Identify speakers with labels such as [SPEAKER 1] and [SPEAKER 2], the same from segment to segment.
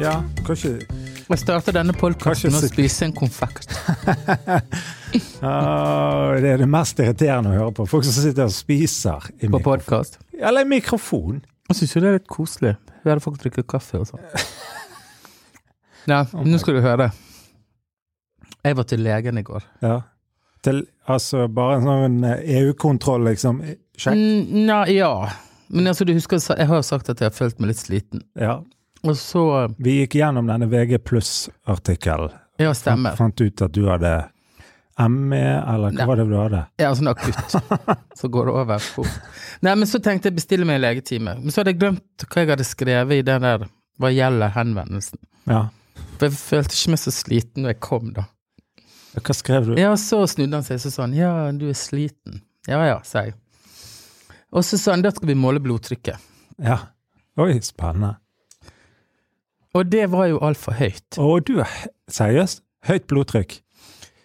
[SPEAKER 1] Ja, kanskje
[SPEAKER 2] Jeg starter denne
[SPEAKER 1] Kanskje
[SPEAKER 2] podkasten med å
[SPEAKER 1] sikkert.
[SPEAKER 2] spise en konfekt.
[SPEAKER 1] Ah, Det er det mest irriterende å høre på. Folk som sitter og spiser i
[SPEAKER 2] På
[SPEAKER 1] mikrofon.
[SPEAKER 2] podkast.
[SPEAKER 1] Eller i mikrofon.
[SPEAKER 2] Jeg syns jo det er litt koselig. Vi hadde folk drikke kaffe og sånn. Ja, nå skal du høre. Jeg var til legen i går.
[SPEAKER 1] Ja. Til, altså bare en sånn eh, EU-kontroll, liksom. Sjekk.
[SPEAKER 2] Mm, Nja, ja. Men altså, du husker, sa- jeg har jo sagt at jeg har følt meg litt sliten.
[SPEAKER 1] Ja.
[SPEAKER 2] Og så
[SPEAKER 1] Vi gikk gjennom denne VG pluss-artikkelen.
[SPEAKER 2] Ja, stemmer.
[SPEAKER 1] Fant ut at du hadde ME, eller hva
[SPEAKER 2] Ja.
[SPEAKER 1] var det du hadde?
[SPEAKER 2] Ja, sånn akutt. Så går det over fort. Nei, men så tenkte jeg bestille meg en legetime. Men så hadde jeg glemt hva jeg hadde skrevet i den der hva gjelder henvendelsen.
[SPEAKER 1] Ja.
[SPEAKER 2] For jeg følte ikke meg så sliten når jeg kom, da.
[SPEAKER 1] Hva skrev du?
[SPEAKER 2] Ja, så snudde han seg så sa han ja, du er sliten. Ja ja, sa jeg. Og så sa han da skal vi måle blodtrykket.
[SPEAKER 1] Ja. Oi, spennende.
[SPEAKER 2] Og det var jo altfor høyt.
[SPEAKER 1] Og du er seriøst høyt blodtrykk.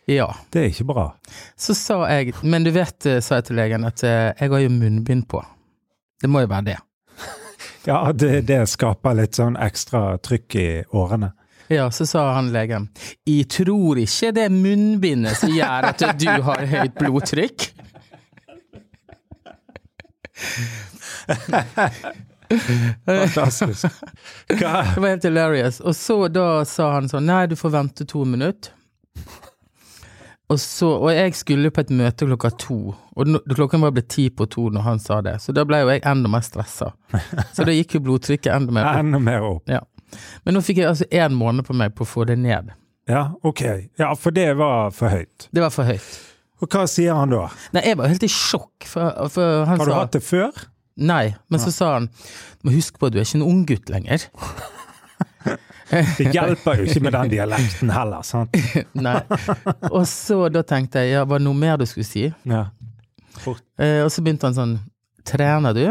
[SPEAKER 2] Ja.
[SPEAKER 1] Det er ikke bra.
[SPEAKER 2] Så sa jeg, men du vet, eh, sa jeg til legen, at eh, jeg har jo munnbind på. Det må jo være det.
[SPEAKER 1] Ja, det, det skaper litt sånn ekstra trykk i årene.
[SPEAKER 2] Ja, så sa han legen, jeg tror ikke det er munnbindet som gjør at du har høyt blodtrykk.
[SPEAKER 1] Fantastisk. Hva?
[SPEAKER 2] Det var helt hilarious. Og så da sa han sånn Nei, du får vente to minutter. Og, så, og jeg skulle på et møte klokka to, og nå- klokken var blitt ti på to når han sa det, så da ble jo jeg enda mer stressa. Så da gikk jo blodtrykket enda mer opp.
[SPEAKER 1] Enda mer opp.
[SPEAKER 2] Ja. Men nå fikk jeg altså én måned på meg på å få det ned.
[SPEAKER 1] Ja, ok. Ja, for det var for høyt.
[SPEAKER 2] Det var for høyt.
[SPEAKER 1] Og hva sier han da?
[SPEAKER 2] Nei, jeg var helt i sjokk, for, for han
[SPEAKER 1] Har du
[SPEAKER 2] sa
[SPEAKER 1] hatt det før?
[SPEAKER 2] Nei, men så sa han Men husk på at du er ikke en ung gutt lenger.
[SPEAKER 1] Det hjelper jo ikke med den dialekten heller, sant?
[SPEAKER 2] Nei. Og så da tenkte jeg ja, var det noe mer du skulle si?
[SPEAKER 1] Ja.
[SPEAKER 2] Eh, og så begynte han sånn Trener du?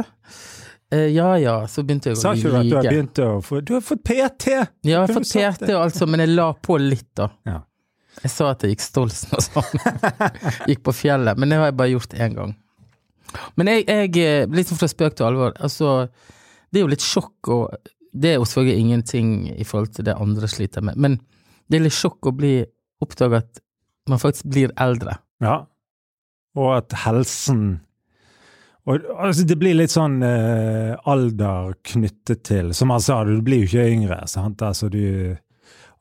[SPEAKER 2] Eh, ja ja, så begynte jeg å
[SPEAKER 1] Sa ikke du at du har
[SPEAKER 2] lyge.
[SPEAKER 1] begynt å få Du har fått PT!
[SPEAKER 2] Ja, jeg
[SPEAKER 1] Kunne
[SPEAKER 2] har
[SPEAKER 1] du
[SPEAKER 2] fått
[SPEAKER 1] sagt
[SPEAKER 2] PT og alt sånt, men jeg la på litt, da.
[SPEAKER 1] Ja.
[SPEAKER 2] Jeg sa at jeg gikk Stolsen og sånn. gikk på fjellet. Men det har jeg bare gjort én gang. Men jeg, jeg eh, liksom fra spøk til alvor, altså Det er jo litt sjokk og Det er jo selvfølgelig ingenting i forhold til det andre sliter med, men det er litt sjokk å bli oppdaga at man faktisk blir eldre.
[SPEAKER 1] Ja. Og at helsen og, altså, Det blir litt sånn eh, alder knyttet til Som han sa, du blir jo ikke yngre, sant? Altså du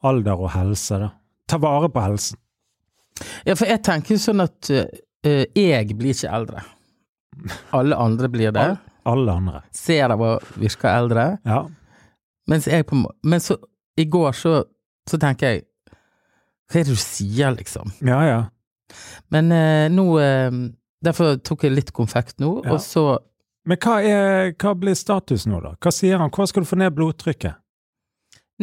[SPEAKER 1] Alder og helse, da. Ta vare på helsen.
[SPEAKER 2] Ja, for jeg tenker jo sånn at eh, jeg blir ikke eldre. Alle andre blir det.
[SPEAKER 1] Alle andre.
[SPEAKER 2] Ser av og virker eldre.
[SPEAKER 1] Ja.
[SPEAKER 2] Mens jeg på en må- Men så i går så, så tenker jeg Hva er det du sier, liksom?
[SPEAKER 1] Ja, ja.
[SPEAKER 2] Men eh, nå eh, Derfor tok jeg litt konfekt nå,
[SPEAKER 1] Ja.
[SPEAKER 2] og så
[SPEAKER 1] Men hva, er, hva blir status nå, da? Hva sier han? Hvordan skal du få ned blodtrykket?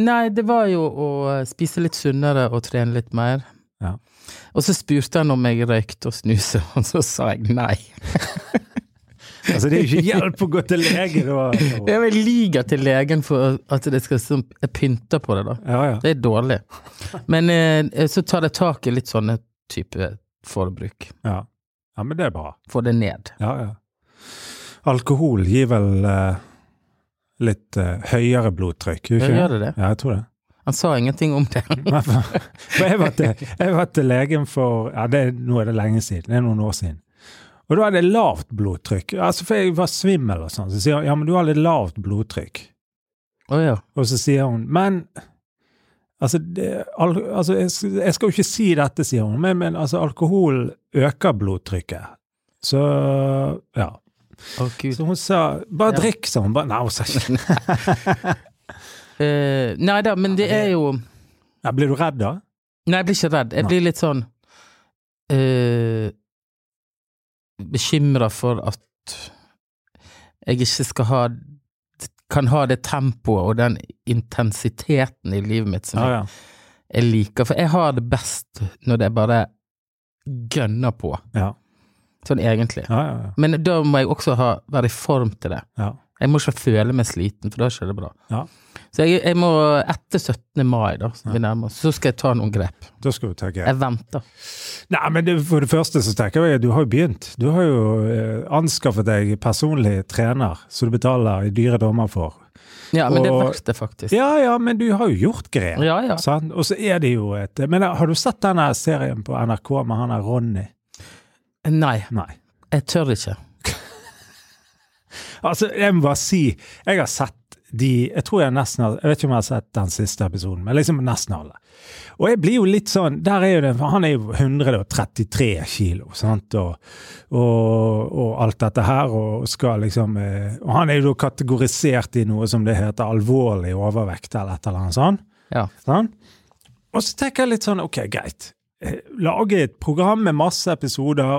[SPEAKER 2] Nei, det var jo å spise litt sunnere og trene litt mer.
[SPEAKER 1] Ja.
[SPEAKER 2] Og så spurte han om jeg røykte og snuste, og så sa jeg nei.
[SPEAKER 1] Altså, det er jo ikke hjelp å gå til lege, da.
[SPEAKER 2] Jeg liker til legen for at det skal sånn- Jeg pynter på det, da.
[SPEAKER 1] Ja, ja.
[SPEAKER 2] Det er dårlig. Men eh, så tar det tak i litt sånne type forbruk.
[SPEAKER 1] Ja, ja men det er bra.
[SPEAKER 2] Få det ned.
[SPEAKER 1] Ja, ja. Alkohol gir vel eh, litt eh, høyere blodtrykk, gjør
[SPEAKER 2] Ja,
[SPEAKER 1] ikke
[SPEAKER 2] gjør det det?
[SPEAKER 1] Ja, jeg tror det.
[SPEAKER 2] Han sa ingenting om det.
[SPEAKER 1] Nei, for, for jeg, var til, jeg var til legen for ja, det, er- Nå er det lenge siden. Det er noen år siden. Og da hadde jeg lavt blodtrykk. Altså, for jeg var svimmel og sånn. Så sier hun ja, men du har litt lavt blodtrykk.
[SPEAKER 2] Å ja.
[SPEAKER 1] Og så sier hun Men altså, det, al altså jeg, s- jeg skal jo ikke si dette, sier hun, men, men altså, alkohol øker blodtrykket. Så ja.
[SPEAKER 2] Å gud.
[SPEAKER 1] Så hun sa bare
[SPEAKER 2] Ja.
[SPEAKER 1] drikk, sa hun. Bare, nei, hun sa ikke
[SPEAKER 2] Eh, nei da, men det er jo
[SPEAKER 1] ja, Blir du redd, da?
[SPEAKER 2] Nei, jeg blir ikke redd. Jeg
[SPEAKER 1] Nei.
[SPEAKER 2] blir litt sånn uh, Bekymra for at jeg ikke skal ha Kan ha det tempoet og den intensiteten i livet mitt som
[SPEAKER 1] Ja,
[SPEAKER 2] jeg
[SPEAKER 1] ja.
[SPEAKER 2] jeg liker. For jeg har det best når det bare gønner på,
[SPEAKER 1] Ja,
[SPEAKER 2] sånn egentlig.
[SPEAKER 1] ja, ja,
[SPEAKER 2] Men da må jeg også ha, være i form til det.
[SPEAKER 1] ja.
[SPEAKER 2] Jeg må ikke føle meg sliten, for da er ikke det bra.
[SPEAKER 1] Ja.
[SPEAKER 2] Så jeg, jeg må etter 17. mai, da, som vi nærmer oss, så skal jeg ta noen grep.
[SPEAKER 1] Da skal du ta grep.
[SPEAKER 2] Jeg venter.
[SPEAKER 1] Nei, men det, For det første så tenker jeg at du har jo begynt. Du har jo eh, anskaffet deg personlig trener som du betaler i dyre dommer for.
[SPEAKER 2] Ja, men det er
[SPEAKER 1] Og-
[SPEAKER 2] verdt det, faktisk.
[SPEAKER 1] Ja ja, men du har jo gjort greier.
[SPEAKER 2] Ja, ja.
[SPEAKER 1] Sant? Og så er det jo et Men har du sett denne serien på NRK med han der Ronny?
[SPEAKER 2] Nei,
[SPEAKER 1] Nei.
[SPEAKER 2] jeg tør ikke.
[SPEAKER 1] Altså, jeg må bare si Jeg har sett de Jeg tror jeg nesten har Jeg vet ikke om jeg har sett den siste episoden, men liksom nesten alle. Og jeg blir jo litt sånn Der er jo det for Han er jo 133 kilo, sant, og, og, og alt dette her, og skal liksom eh, Og han er jo da kategorisert i noe som det heter alvorlig overvekt, eller et eller annet sånt.
[SPEAKER 2] Ja.
[SPEAKER 1] Sånn? Og så tenker jeg litt sånn, ok, greit. Eh, Lage et program med masse episoder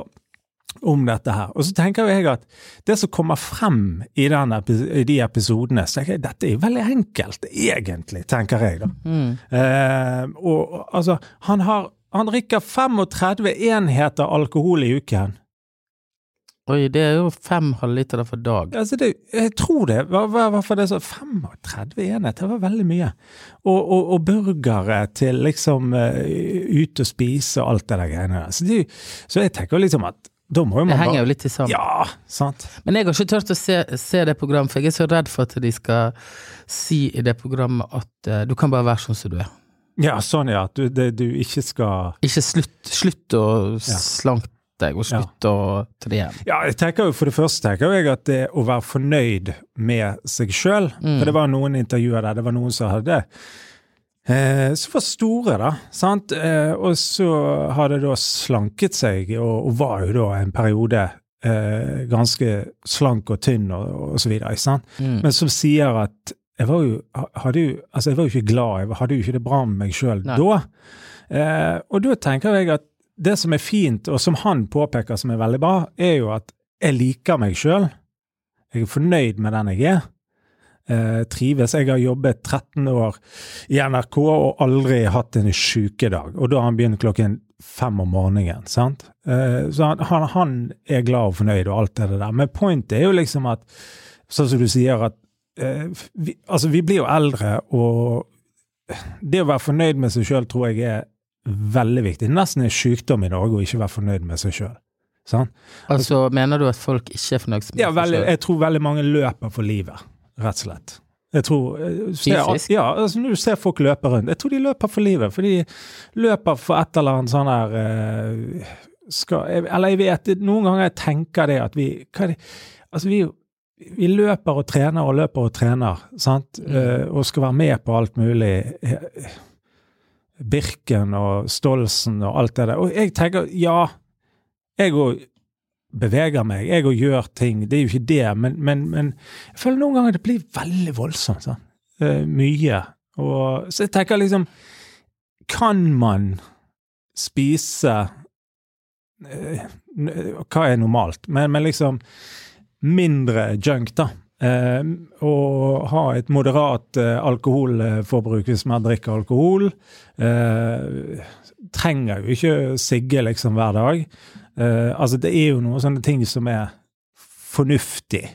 [SPEAKER 1] om dette her. Og så tenker jo jeg at det som kommer frem i, den epi- i de episodene, så tenker jeg dette er jo veldig enkelt, egentlig, tenker jeg da. Eh, og og, altså, han har han drikker 35 enheter alkohol i uken.
[SPEAKER 2] Oi, det er jo fem halvliter for dag.
[SPEAKER 1] Altså det, jeg tror det. Hva, hva, hva for det er så 35 enheter, det var veldig mye. Og, og, og burgere til liksom eh, ut og spise og alt det der greiene der. Så, det, er jo- så jeg tenker liksom at da må jo
[SPEAKER 2] Det
[SPEAKER 1] man
[SPEAKER 2] henger jo
[SPEAKER 1] bare
[SPEAKER 2] litt i sammen.
[SPEAKER 1] Ja, sant.
[SPEAKER 2] Men jeg har ikke turt å se, se det programmet, for jeg er så redd for at de skal si i det programmet at eh, du kan bare være sånn som du er.
[SPEAKER 1] Ja, sånn ja. At du, det, du ikke skal
[SPEAKER 2] Ikke slutt, slutt å slanke deg, og slutt å trene.
[SPEAKER 1] Ja, jeg tenker jo for det første tenker jo jeg at det å være fornøyd med seg sjøl For det var noen intervjuer der, det var noen som hadde eh, Som var store, da. sant? Eh, og så hadde da slanket seg, og, og var jo da en periode eh, ganske slank og tynn og, og så videre, ikke sant?
[SPEAKER 2] Mm.
[SPEAKER 1] Men som sier at jeg var, jo, ha- hadde jo, altså jeg var jo ikke glad, jeg hadde jo ikke det bra med meg sjøl
[SPEAKER 2] Nei.
[SPEAKER 1] da. Eh, og da tenker jeg at det som er fint, og som han påpeker som er veldig bra, er jo at jeg liker meg sjøl. Jeg er fornøyd med den jeg er. Eh, trives. Jeg har jobbet 13 år i NRK og aldri hatt en sjukedag. Og da har han begynt klokken fem om morgenen. sant? Eh, så han, han, han er glad og fornøyd og alt det der. Men pointet er jo liksom at, sånn som du sier, at eh, vi, altså vi blir jo eldre, og det å være fornøyd med seg sjøl tror jeg er veldig viktig. Nesten en sykdom i Norge å ikke være fornøyd med seg sjøl. Sant?
[SPEAKER 2] Altså, mener du at folk ikke er fornøyd med
[SPEAKER 1] Ja,
[SPEAKER 2] seg
[SPEAKER 1] veldig,
[SPEAKER 2] selv?
[SPEAKER 1] jeg tror veldig mange løper for livet, rett og slett. Jeg tror, eh, ser,
[SPEAKER 2] Fysisk?
[SPEAKER 1] ja, altså Når du ser folk løpe rundt Jeg tror de løper for livet, for de løper for et eller annet sånn her eh, skal, jeg- Eller jeg vet det- Noen ganger jeg tenker det at vi hva er det, Altså, vi, er jo- vi løper og trener og løper og trener, sant, Eh, og skal være med på alt mulig. Eh, Birken og Stolsen og alt det der. Og jeg tenker, ja, jeg òg beveger meg, jeg òg gjør ting. Det er jo ikke det, men, men, men jeg føler noen ganger det blir veldig voldsomt. Sånn. Eh, mye. Og, så jeg tenker liksom Kan man spise eh, n- Hva er normalt? Men, men liksom mindre junk, da. Eh, og ha et moderat eh, alkoholforbruk hvis man drikker alkohol. Eh, trenger jo ikke sigge liksom hver dag. Eh, altså det er jo noen sånne ting som er fornuftig.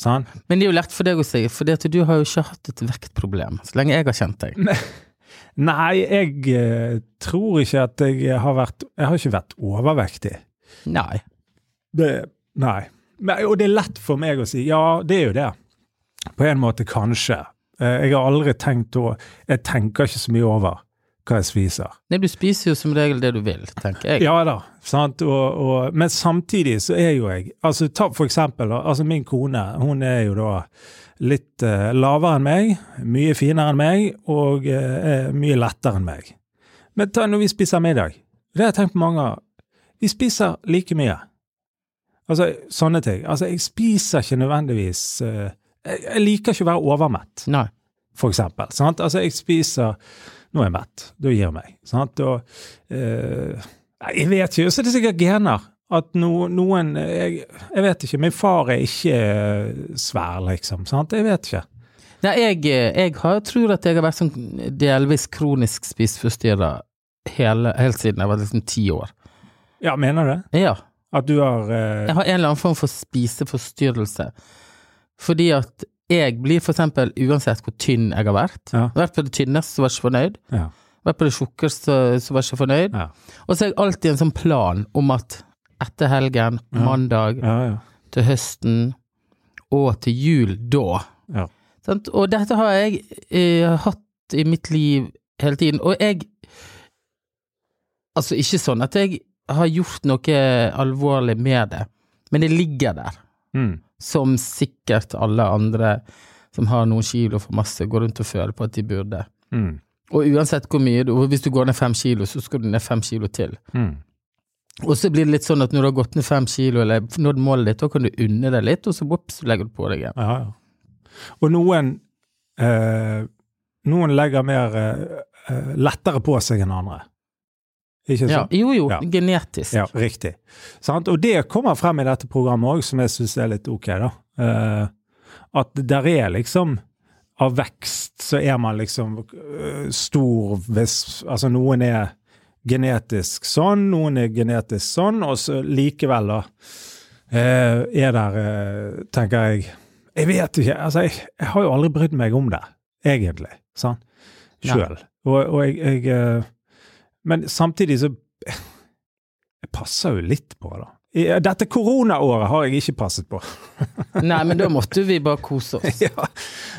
[SPEAKER 1] Sant?
[SPEAKER 2] Men det er jo lett for deg å si, for det at du har jo ikke hatt et vektproblem så lenge jeg har kjent deg.
[SPEAKER 1] Nei, jeg eh, tror ikke at jeg har vært Jeg har ikke vært overvektig.
[SPEAKER 2] Nei.
[SPEAKER 1] Det, nei. Men, og det er lett for meg å si ja, det er jo det. På en måte, kanskje. Eh, Jeg har aldri tenkt å Jeg tenker ikke så mye over hva jeg spiser.
[SPEAKER 2] Nei, du spiser jo som regel det du vil, tenker jeg.
[SPEAKER 1] Ja da, sant? Og, og, men samtidig så er jo jeg altså Ta for eksempel da, altså min kone. Hun er jo da litt eh, lavere enn meg, mye finere enn meg og eh, er mye lettere enn meg. Men ta når vi spiser middag. Det har jeg tenkt på mange ganger. Vi spiser like mye. Altså sånne ting. Altså jeg spiser ikke nødvendigvis eh, jeg, jeg liker ikke å være overmett
[SPEAKER 2] Nei.
[SPEAKER 1] for eksempel. Sant? Altså, jeg spiser Nå er jeg mett. Da gir jeg meg. Sant? Og eh, nei, Jeg vet ikke. Så er det sikkert gener. At no, noen jeg, jeg vet ikke. Min far er ikke eh, svær, liksom. Sant? Jeg vet ikke.
[SPEAKER 2] Nei, jeg, eh, jeg har, tror at jeg har vært sånn delvis kronisk spiseforstyrra hele, helt siden jeg var liksom ti år.
[SPEAKER 1] Ja, mener du det?
[SPEAKER 2] Ja.
[SPEAKER 1] At du har eh,
[SPEAKER 2] Jeg har en eller annen form for spiseforstyrrelse. Fordi at jeg blir for eksempel, uansett hvor tynn jeg har vært Jeg
[SPEAKER 1] Ja.
[SPEAKER 2] har vært på det tynneste, så var jeg ikke fornøyd. Jeg
[SPEAKER 1] ja.
[SPEAKER 2] har vært på det tjukkeste, så var jeg ikke fornøyd.
[SPEAKER 1] Ja.
[SPEAKER 2] Og så har jeg alltid en sånn plan om at etter helgen, mandag,
[SPEAKER 1] Ja, ja.
[SPEAKER 2] til høsten og til jul da,
[SPEAKER 1] Ja.
[SPEAKER 2] Sant? Og dette har jeg eh, hatt i mitt liv hele tiden. Og jeg Altså, ikke sånn at jeg har gjort noe alvorlig med det, men det ligger der.
[SPEAKER 1] Mm.
[SPEAKER 2] Som sikkert alle andre som har noen kilo for masse, går rundt og føler på at de burde.
[SPEAKER 1] Mm.
[SPEAKER 2] Og uansett hvor mye du Hvis du går ned fem kilo, så skal du ned fem kilo til.
[SPEAKER 1] Mm.
[SPEAKER 2] Og så blir det litt sånn at når du har gått ned fem kilo, eller nådd målet ditt, da kan du unne deg litt, og så whoops, så legger du på deg igjen.
[SPEAKER 1] Ja, ja. Og noen eh, Noen legger mer eh, eh, lettere på seg enn andre. Ikke
[SPEAKER 2] Ja,
[SPEAKER 1] sant?
[SPEAKER 2] jo, jo,
[SPEAKER 1] Ja.
[SPEAKER 2] genetisk.
[SPEAKER 1] Ja, riktig. Sant? Og det kommer frem i dette programmet òg, som jeg syns er litt ok, da. Eh, at der er liksom Av vekst så er man liksom eh, stor hvis Altså noen er genetisk sånn, noen er genetisk sånn, og så likevel, da, eh, er der, eh, tenker jeg Jeg vet ikke. Altså, jeg, jeg har jo aldri brydd meg om det, egentlig. Sant? Sjøl. Og, og jeg, jeg eh, Men samtidig så jeg passer jo litt på, da. I eh, dette koronaåret har jeg ikke passet på.
[SPEAKER 2] Nei, men da måtte vi bare kose oss.
[SPEAKER 1] ja.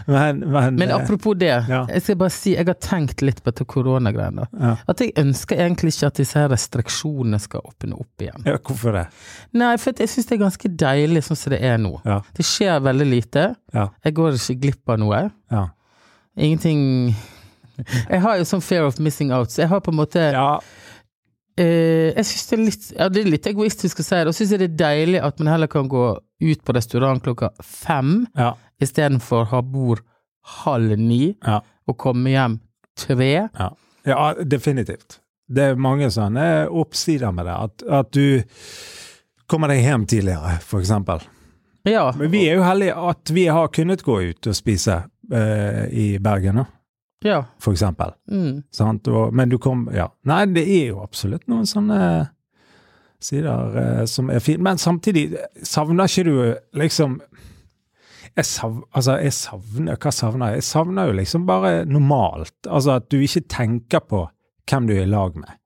[SPEAKER 1] Men, men,
[SPEAKER 2] Men
[SPEAKER 1] eh,
[SPEAKER 2] apropos det,
[SPEAKER 1] Ja.
[SPEAKER 2] jeg skal bare si jeg har tenkt litt på dette koronagreiene. da.
[SPEAKER 1] ja.
[SPEAKER 2] At jeg ønsker egentlig ikke at disse her restriksjonene skal åpne opp igjen.
[SPEAKER 1] ja, hvorfor det?
[SPEAKER 2] Nei, for at jeg syns det er ganske deilig sånn som det er nå.
[SPEAKER 1] Ja.
[SPEAKER 2] Det skjer veldig lite.
[SPEAKER 1] Ja.
[SPEAKER 2] Jeg går ikke glipp av noe.
[SPEAKER 1] Ja.
[SPEAKER 2] Ingenting Jeg har jo sånn fear of missing out, så jeg har på en måte
[SPEAKER 1] ja.
[SPEAKER 2] eh, Jeg synes det er litt ja, Det er litt egoistisk å si det, og syns jeg det er deilig at man heller kan gå ut på restaurant klokka fem
[SPEAKER 1] ja.
[SPEAKER 2] istedenfor å ha bord halv ni
[SPEAKER 1] Ja.
[SPEAKER 2] og komme hjem tre.
[SPEAKER 1] Ja, definitivt. Det er mange sånne oppsider med det. At, at du kommer deg hjem tidligere, for eksempel.
[SPEAKER 2] Ja.
[SPEAKER 1] Men vi er jo heldige at vi har kunnet gå ut og spise eh, i Bergen, da,
[SPEAKER 2] ja.
[SPEAKER 1] for eksempel.
[SPEAKER 2] Mm.
[SPEAKER 1] Sant? Og, men du kom Ja. Nei, det er jo absolutt noen sånne sider eh, som er fine. Men samtidig, savner ikke du liksom jeg savner, altså jeg savner Hva savner jeg? Jeg savner jo liksom bare normalt. Altså at du ikke tenker på hvem du er i lag med.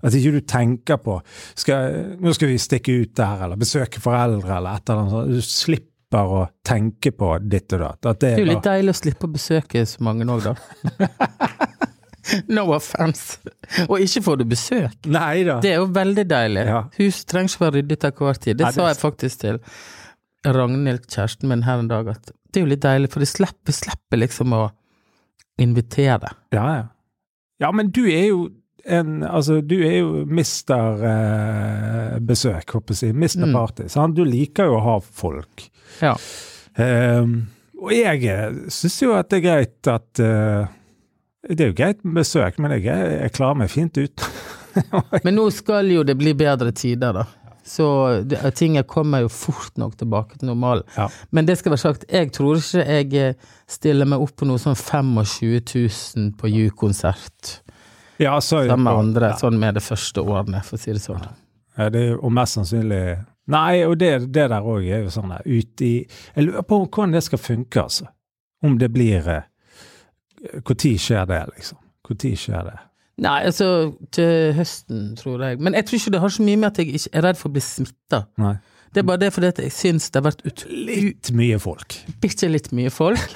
[SPEAKER 1] At ikke du tenker på skal, Nå skal vi stikke ut der, eller besøke foreldre, eller et eller annet sånt. Du slipper å tenke på ditt og datt. At det
[SPEAKER 2] Det
[SPEAKER 1] er
[SPEAKER 2] er jo
[SPEAKER 1] bare-
[SPEAKER 2] litt deilig å slippe å besøke så mange òg, da. no offense. Og ikke får du besøk.
[SPEAKER 1] Nei da.
[SPEAKER 2] Det er jo veldig deilig.
[SPEAKER 1] Ja.
[SPEAKER 2] Hus trenger ikke være ryddet til hver tid. Det
[SPEAKER 1] Nei, det-
[SPEAKER 2] sa jeg faktisk til Ragnhild, kjæresten min, her en dag, at det er jo litt deilig, for de slipper, slipper liksom å invitere.
[SPEAKER 1] Ja, ja. Ja, men du er jo en Altså, du er jo mister eh, besøk, håper jeg å si. Mister
[SPEAKER 2] Mm.
[SPEAKER 1] party. Sant? Du liker jo å ha folk.
[SPEAKER 2] Ja.
[SPEAKER 1] Ehm, og jeg eh, syns jo at det er greit at eh, Det er jo greit med besøk, men jeg, er- jeg klarer meg fint ut.
[SPEAKER 2] Men nå skal jo det bli bedre tider, da. Så det, tinget kommer jo fort nok tilbake til normalen.
[SPEAKER 1] Ja.
[SPEAKER 2] Men det skal være sagt, jeg tror ikke jeg eh, stiller meg opp på noe sånn 25 000 på U-konsert
[SPEAKER 1] ja, så,
[SPEAKER 2] sammen med andre,
[SPEAKER 1] Ja.
[SPEAKER 2] sånn med det første årene, for å si det sånn.
[SPEAKER 1] Ja, Eh, det, er- og mest sannsynlig Nei, og det, det der òg er jo sånn der ut i Jeg lurer på hvordan det skal funke, altså. Om det blir eh, Hvor tid skjer det, liksom? Hvor tid skjer det?
[SPEAKER 2] Nei, altså til høsten, tror jeg. Men jeg tror ikke det har så mye med at jeg ikke er redd for å bli smitta.
[SPEAKER 1] Nei.
[SPEAKER 2] Det er bare det fordi at jeg syns det har vært utrolig
[SPEAKER 1] Litt mye folk.
[SPEAKER 2] bitte litt mye folk.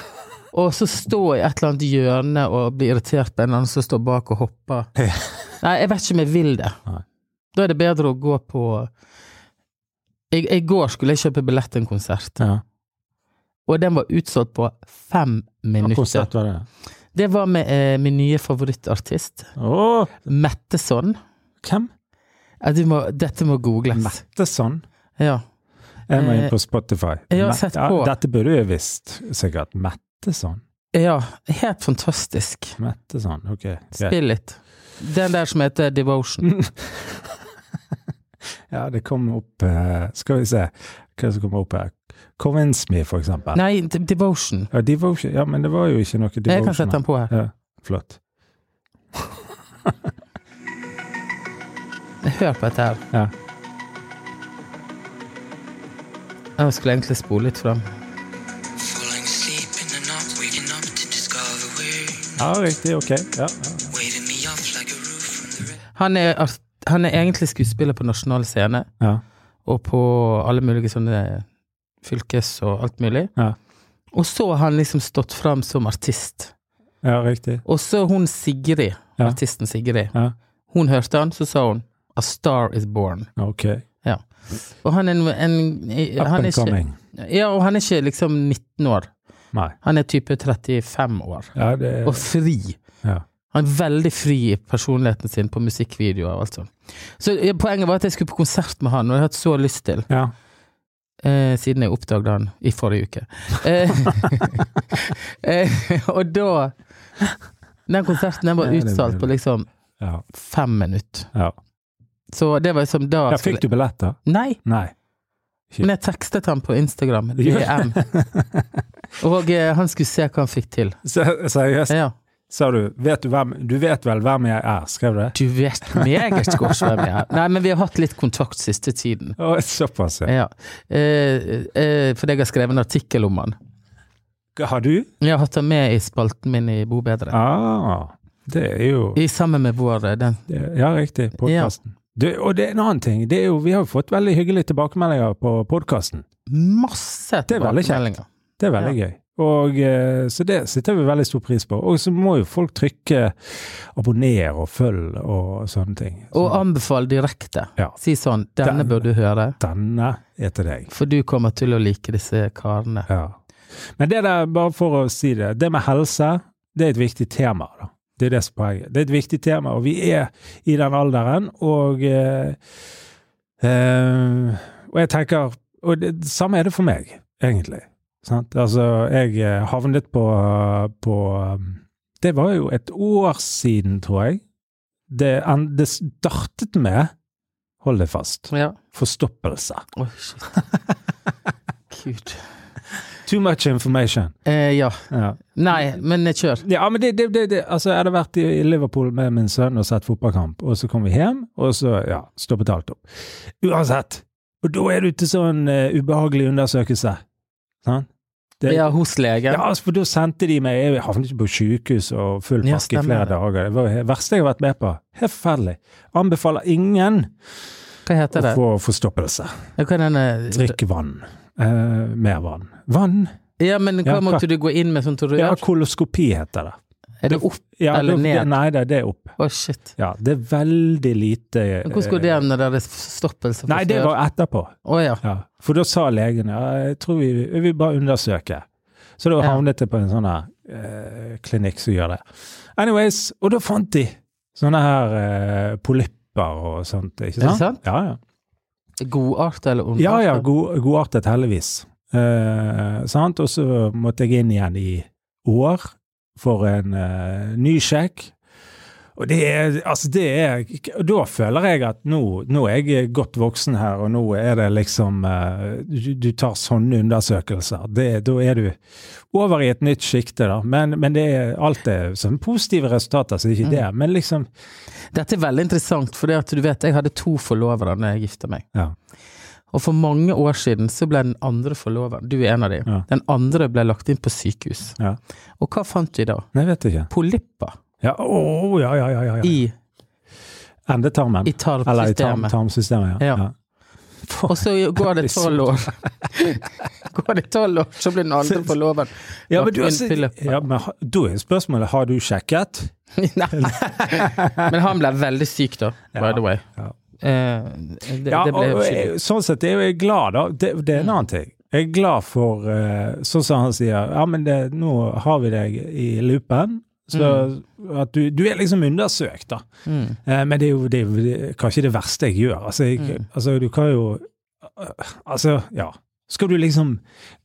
[SPEAKER 2] Og så stå i et eller annet hjørne og bli irritert på en eller annen som står bak og hopper. Nei, jeg vet ikke om jeg vil det.
[SPEAKER 1] Nei.
[SPEAKER 2] Da er det bedre å gå på I, I går skulle jeg kjøpe billett til en konsert,
[SPEAKER 1] Ja.
[SPEAKER 2] og den var utsolgt på fem minutter.
[SPEAKER 1] Konsert var det.
[SPEAKER 2] Det var med eh, min nye favorittartist,
[SPEAKER 1] Å,
[SPEAKER 2] Metteson.
[SPEAKER 1] hvem?
[SPEAKER 2] Ja, du må, dette må googles.
[SPEAKER 1] Metteson.
[SPEAKER 2] Ja.
[SPEAKER 1] Jeg må inn
[SPEAKER 2] Eh,
[SPEAKER 1] på Spotify.
[SPEAKER 2] jeg har
[SPEAKER 1] Mette-
[SPEAKER 2] sett på.
[SPEAKER 1] Ja, dette burde jeg visst, sikkert. Metteson.
[SPEAKER 2] ja, helt fantastisk.
[SPEAKER 1] Metteson, ok. greit.
[SPEAKER 2] Spill litt. Den der som heter Devotion.
[SPEAKER 1] Ja, det kom opp eh, Skal vi se hva som kommer opp her. Convince me, for eksempel.
[SPEAKER 2] Nei, D- Devotion.
[SPEAKER 1] Ja, devotion. ja, men det var jo ikke noe devotion.
[SPEAKER 2] Jeg kan sette den på her.
[SPEAKER 1] Ja, flott.
[SPEAKER 2] Hør på dette her.
[SPEAKER 1] Ja.
[SPEAKER 2] Jeg skulle egentlig spole litt fram.
[SPEAKER 3] Falling asleep and then not waking up to discover we're
[SPEAKER 1] ja, riktig. Ok. Ja, ja.
[SPEAKER 3] waving me off like a roof from the red.
[SPEAKER 2] Han er, art- han er egentlig skuespiller på nasjonal scene,
[SPEAKER 1] ja.
[SPEAKER 2] og på alle mulige sånne fylkes og alt mulig.
[SPEAKER 1] Ja.
[SPEAKER 2] Og så har han liksom stått fram som artist.
[SPEAKER 1] Ja, riktig.
[SPEAKER 2] Og så hun Sigrid,
[SPEAKER 1] Ja.
[SPEAKER 2] artisten Sigrid,
[SPEAKER 1] Ja,
[SPEAKER 2] hun hørte han, så sa hun 'A Star Is Born'.
[SPEAKER 1] ok.
[SPEAKER 2] Ja. Og han er en, en
[SPEAKER 1] Up
[SPEAKER 2] han er
[SPEAKER 1] and
[SPEAKER 2] ikke,
[SPEAKER 1] coming.
[SPEAKER 2] ja, og han er ikke liksom 19 år.
[SPEAKER 1] Nei.
[SPEAKER 2] Han er type 35 år.
[SPEAKER 1] Ja, det
[SPEAKER 2] Og fri.
[SPEAKER 1] ja.
[SPEAKER 2] Han er veldig fri i personligheten sin på musikkvideoer og alt sånt. Så ja, poenget var at jeg skulle på konsert med han, og jeg har hatt så lyst til.
[SPEAKER 1] ja.
[SPEAKER 2] Eh, siden jeg oppdaget han i forrige uke. Eh, eh, og da Den konserten den var
[SPEAKER 1] Ja, det blir
[SPEAKER 2] utsolgt på
[SPEAKER 1] bra.
[SPEAKER 2] liksom
[SPEAKER 1] ja.
[SPEAKER 2] fem minutter.
[SPEAKER 1] ja.
[SPEAKER 2] Så det var liksom da
[SPEAKER 1] ja fikk du billetter?
[SPEAKER 2] Nei,
[SPEAKER 1] Nei.
[SPEAKER 2] men jeg tekstet han på Instagram.
[SPEAKER 1] Ja.
[SPEAKER 2] DM. Og eh, han skulle se hva han fikk til.
[SPEAKER 1] Se- Seriøst,
[SPEAKER 2] Ja.
[SPEAKER 1] sa du vet du, hvem, du vet vel hvem jeg er, skrev du det?
[SPEAKER 2] Du vet meget godt hvem jeg er. Nei, men vi har hatt litt kontakt siste tiden.
[SPEAKER 1] Å, såpass, ja.
[SPEAKER 2] Ja. Eh, eh, fordi jeg har skrevet en artikkel om han.
[SPEAKER 1] Har du?
[SPEAKER 2] Jeg har hatt han med i spalten min i Bo bedre.
[SPEAKER 1] Ah, det er jo
[SPEAKER 2] I sammen med vår eh, den
[SPEAKER 1] det- Ja, riktig. Podkasten. Og det er en annen ting. Det er jo, vi har jo fått veldig hyggelige tilbakemeldinger på podkasten.
[SPEAKER 2] masse
[SPEAKER 1] Det er veldig kjekt.
[SPEAKER 2] tilbakemeldinger.
[SPEAKER 1] Det er veldig gøy. Og, eh, så det setter vi veldig stor pris på. Og så må jo folk trykke abonner og følg og sånne ting. Så
[SPEAKER 2] Og anbefal direkte.
[SPEAKER 1] Ja.
[SPEAKER 2] Si sånn 'Denne
[SPEAKER 1] Sånn. Den-
[SPEAKER 2] bør du høre',
[SPEAKER 1] denne er til deg.
[SPEAKER 2] for du kommer til å like disse karene.
[SPEAKER 1] Ja. Men det der, bare for å si det, det med helse, det er et viktig tema. da. Det er det som er poenget. Det er et viktig tema, og vi er i den alderen, og eh, eh, Og jeg tenker Og det, det samme er det for meg, egentlig. Sant? Altså, jeg eh, havnet på, på um, Det var jo et år siden, tror jeg. Det, en- det startet med, hold deg fast,
[SPEAKER 2] Ja.
[SPEAKER 1] forstoppelse.
[SPEAKER 2] Oi, shit. Gud.
[SPEAKER 1] Too much information.
[SPEAKER 2] Eh, ja.
[SPEAKER 1] Ja.
[SPEAKER 2] Nei, men eh, kjør.
[SPEAKER 1] Ja, men det, det, det, det Altså, jeg hadde vært i i Liverpool med min sønn og sett fotballkamp, og så kom vi hjem, og så, ja, stoppet alt opp. Uansett! Og da er du til sånn eh, ubehagelig undersøkelse. Sant? Det-
[SPEAKER 2] Ja, hos legen.
[SPEAKER 1] ja, altså, for da sendte de meg Jeg havnet ikke på sykehus og full
[SPEAKER 2] Ja,
[SPEAKER 1] pakke i
[SPEAKER 2] stemmer
[SPEAKER 1] flere
[SPEAKER 2] det.
[SPEAKER 1] dager. Det var det verste jeg har vært med på. Helt forferdelig. Anbefaler ingen
[SPEAKER 2] Hva heter
[SPEAKER 1] å
[SPEAKER 2] det?
[SPEAKER 1] få forstoppelse.
[SPEAKER 2] Ja, Hva er denne
[SPEAKER 1] Drikk vann. Eh, mer vann. Vann?
[SPEAKER 2] Ja, men hva
[SPEAKER 1] Ja, hva-
[SPEAKER 2] måtte du gå inn med sånn til du
[SPEAKER 1] Ja,
[SPEAKER 2] gjør?
[SPEAKER 1] koloskopi heter det.
[SPEAKER 2] Er det opp?
[SPEAKER 1] Ja,
[SPEAKER 2] Eller
[SPEAKER 1] da-
[SPEAKER 2] ned.
[SPEAKER 1] Nei, det, det er opp.
[SPEAKER 2] Å, shit.
[SPEAKER 1] Ja, det er veldig lite eh,
[SPEAKER 2] Men hvordan går det an når det er stoppelse fra
[SPEAKER 1] Nei, det var etterpå.
[SPEAKER 2] Å ja.
[SPEAKER 1] Ja. For da sa legen ja, jeg tror vi, vi vil bare undersøke. Så da
[SPEAKER 2] Ja.
[SPEAKER 1] havnet jeg på en sånn her eh, klinikk som gjør det. Anyways, og da fant de sånne her eh, polypper og sånt, ikke sant?
[SPEAKER 2] det sant?
[SPEAKER 1] Ja, ja.
[SPEAKER 2] Godart eller ondart?
[SPEAKER 1] Ja, ja, god, godartet heldigvis. Eh, sant? Og så måtte jeg inn igjen i år for en eh, ny sjekk. Og det er, altså det er, og da føler jeg at nå, nå er jeg godt voksen her, og nå er det liksom eh, du, du tar sånne undersøkelser. Det, da er du over i et nytt sjikte, da. Men, men det er alt er sånn positive resultater, så det er ikke det. Men liksom
[SPEAKER 2] Dette er veldig interessant, for det at du vet, jeg hadde to forlovere når jeg gifta meg.
[SPEAKER 1] Ja.
[SPEAKER 2] Og for mange år siden så ble den andre forloveren, du er en av de,
[SPEAKER 1] Ja.
[SPEAKER 2] den andre ble lagt inn på sykehus.
[SPEAKER 1] Ja.
[SPEAKER 2] Og hva fant vi da?
[SPEAKER 1] Nei, jeg vet ikke.
[SPEAKER 2] Polypper
[SPEAKER 1] Ja, å, ja, ja, ja. ja, ja.
[SPEAKER 2] i,
[SPEAKER 1] Endetarmen.
[SPEAKER 2] i
[SPEAKER 1] Eller i tarm,
[SPEAKER 2] tarmsystemet.
[SPEAKER 1] tarmsystemet, ja.
[SPEAKER 2] Ja.
[SPEAKER 1] ja.
[SPEAKER 2] Og så går det tolv år. går det tolv år, så blir den andre forloveren
[SPEAKER 1] Ja, men,
[SPEAKER 2] lagt
[SPEAKER 1] du,
[SPEAKER 2] inn
[SPEAKER 1] altså,
[SPEAKER 2] polypper.
[SPEAKER 1] ja, men ha- da er spørsmålet har du sjekket.
[SPEAKER 2] Nei. Men han ble veldig syk da, by
[SPEAKER 1] Ja.
[SPEAKER 2] the way.
[SPEAKER 1] Ja.
[SPEAKER 2] Eh, det,
[SPEAKER 1] Ja,
[SPEAKER 2] det ble
[SPEAKER 1] og,
[SPEAKER 2] jo
[SPEAKER 1] jeg,
[SPEAKER 2] Mm. skikkelig.
[SPEAKER 1] sånn sett er jo jeg glad, da. Det, det er en annen ting. Jeg er glad for, eh, sånn som han sier, ja, men det, nå har vi deg i loopen. Så at du, du er liksom undersøkt, da.
[SPEAKER 2] Mm.
[SPEAKER 1] Eh, men det er jo det, er jo- det er kanskje det verste jeg gjør. Altså, jeg,
[SPEAKER 2] Mm.
[SPEAKER 1] altså, du kan jo Altså, ja. Skal du liksom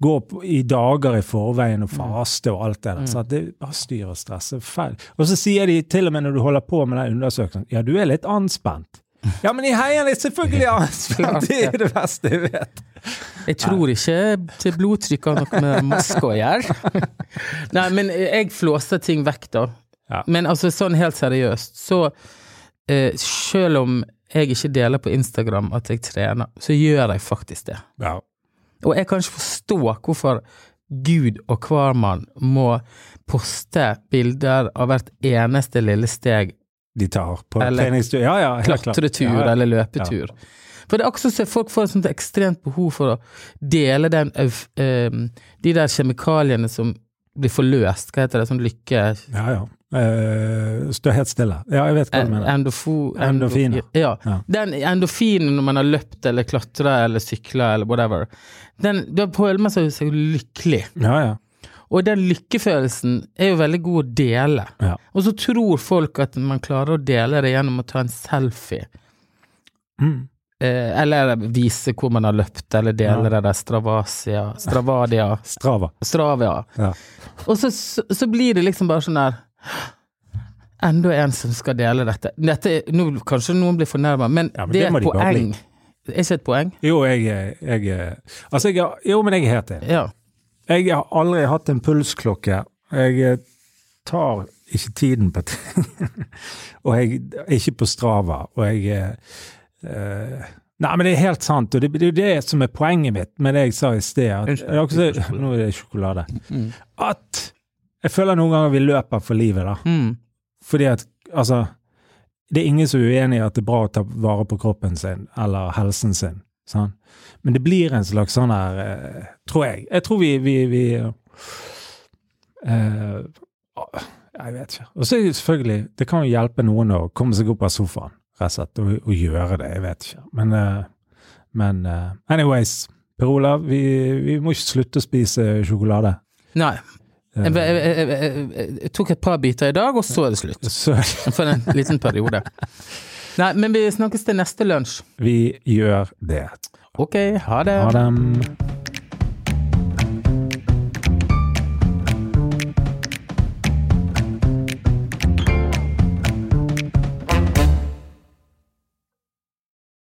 [SPEAKER 1] gå opp i dager i forveien og
[SPEAKER 2] Mm.
[SPEAKER 1] faste og alt det der? Så at det er bare styr og stress. det er Feil. Og så sier de til og med når du holder på med den undersøkelsen, ja, du er litt anspent. Ja, men i heien er jeg selvfølgelig anspent! Det er det verste jeg vet.
[SPEAKER 2] Jeg tror ikke til blodtrykk har noe med maske å gjøre. Nei, men jeg flåser ting vekk, da.
[SPEAKER 1] Ja.
[SPEAKER 2] Men altså, sånn helt seriøst, så eh, selv om jeg ikke deler på Instagram at jeg trener, så gjør jeg faktisk det.
[SPEAKER 1] Ja.
[SPEAKER 2] Og jeg kan ikke forstå hvorfor Gud og hvermann må poste bilder av hvert eneste lille steg,
[SPEAKER 1] De tar på
[SPEAKER 2] Eller
[SPEAKER 1] treningstur. Ja, ja. helt klart.
[SPEAKER 2] klatretur
[SPEAKER 1] Ja, ja.
[SPEAKER 2] eller løpetur. For det er akkurat som folk får et sånt ekstremt behov for å dele den, euf- ehm, de der kjemikaliene som blir forløst, hva heter det, sånn lykke...
[SPEAKER 1] Ja, ja. Eh, stå helt stille. Ja, jeg vet hva du
[SPEAKER 2] En-
[SPEAKER 1] mener.
[SPEAKER 2] endofo-
[SPEAKER 1] Endorfiner.
[SPEAKER 2] endorfi- Ja.
[SPEAKER 1] Ja.
[SPEAKER 2] Den endorfinen når man har løpt eller klatra eller sykla eller whatever, den, da føler man seg seg lykkelig.
[SPEAKER 1] Ja, ja.
[SPEAKER 2] Og den lykkefølelsen er jo veldig god å dele.
[SPEAKER 1] Ja.
[SPEAKER 2] Og så tror folk at man klarer å dele det gjennom å ta en selfie.
[SPEAKER 1] Mm.
[SPEAKER 2] Eh, eller vise hvor man har løpt, eller dele
[SPEAKER 1] Ja.
[SPEAKER 2] det der Stravasia, Stravadia,
[SPEAKER 1] Strava.
[SPEAKER 2] Stravia.
[SPEAKER 1] Ja.
[SPEAKER 2] Og så, så, så blir det liksom bare sånn der Enda en som skal dele dette. dette er, nå, kanskje noen blir fornærma, men,
[SPEAKER 1] Ja, men
[SPEAKER 2] det
[SPEAKER 1] det
[SPEAKER 2] er
[SPEAKER 1] må
[SPEAKER 2] et
[SPEAKER 1] de bare
[SPEAKER 2] poeng. Er ikke et poeng?
[SPEAKER 1] Jo, jeg, er- jeg er- Altså, jeg, er- jo, men jeg er helt enig.
[SPEAKER 2] Ja.
[SPEAKER 1] Jeg har aldri hatt en pulsklokke. Jeg eh, tar ikke tiden på ting. og jeg er ikke på Strava, og jeg eh, eh, Nei, men det er helt sant, og det, det er jo det som er poenget mitt med det jeg sa i sted. At,
[SPEAKER 2] Unnskyld, Mm.
[SPEAKER 1] det er også- nå er det sjokolade. At jeg føler noen ganger vi løper for livet, da.
[SPEAKER 2] Mm.
[SPEAKER 1] Fordi at, altså Det er ingen som er uenig i at det er bra å ta vare på kroppen sin eller helsen sin. Sant? Men det blir en slags sånn her eh, Tror jeg. Jeg tror vi, vi, vi eh, eh, Jeg vet ikke. Og så er det selvfølgelig Det kan jo hjelpe noen å komme seg opp av sofaen rett og slett, og, og gjøre det. Jeg vet ikke. Men, eh, men eh, anyways, Per Olav, vi, vi må ikke slutte å spise sjokolade.
[SPEAKER 2] Nei.
[SPEAKER 1] Eh,
[SPEAKER 2] Jeg, jeg, jeg, jeg, jeg, jeg tok et par biter i dag, og så er det slutt.
[SPEAKER 1] så
[SPEAKER 2] For en liten periode. Nei, men vi snakkes til neste lunsj.
[SPEAKER 1] vi gjør det.
[SPEAKER 2] Ok, ha det.
[SPEAKER 1] Ha det.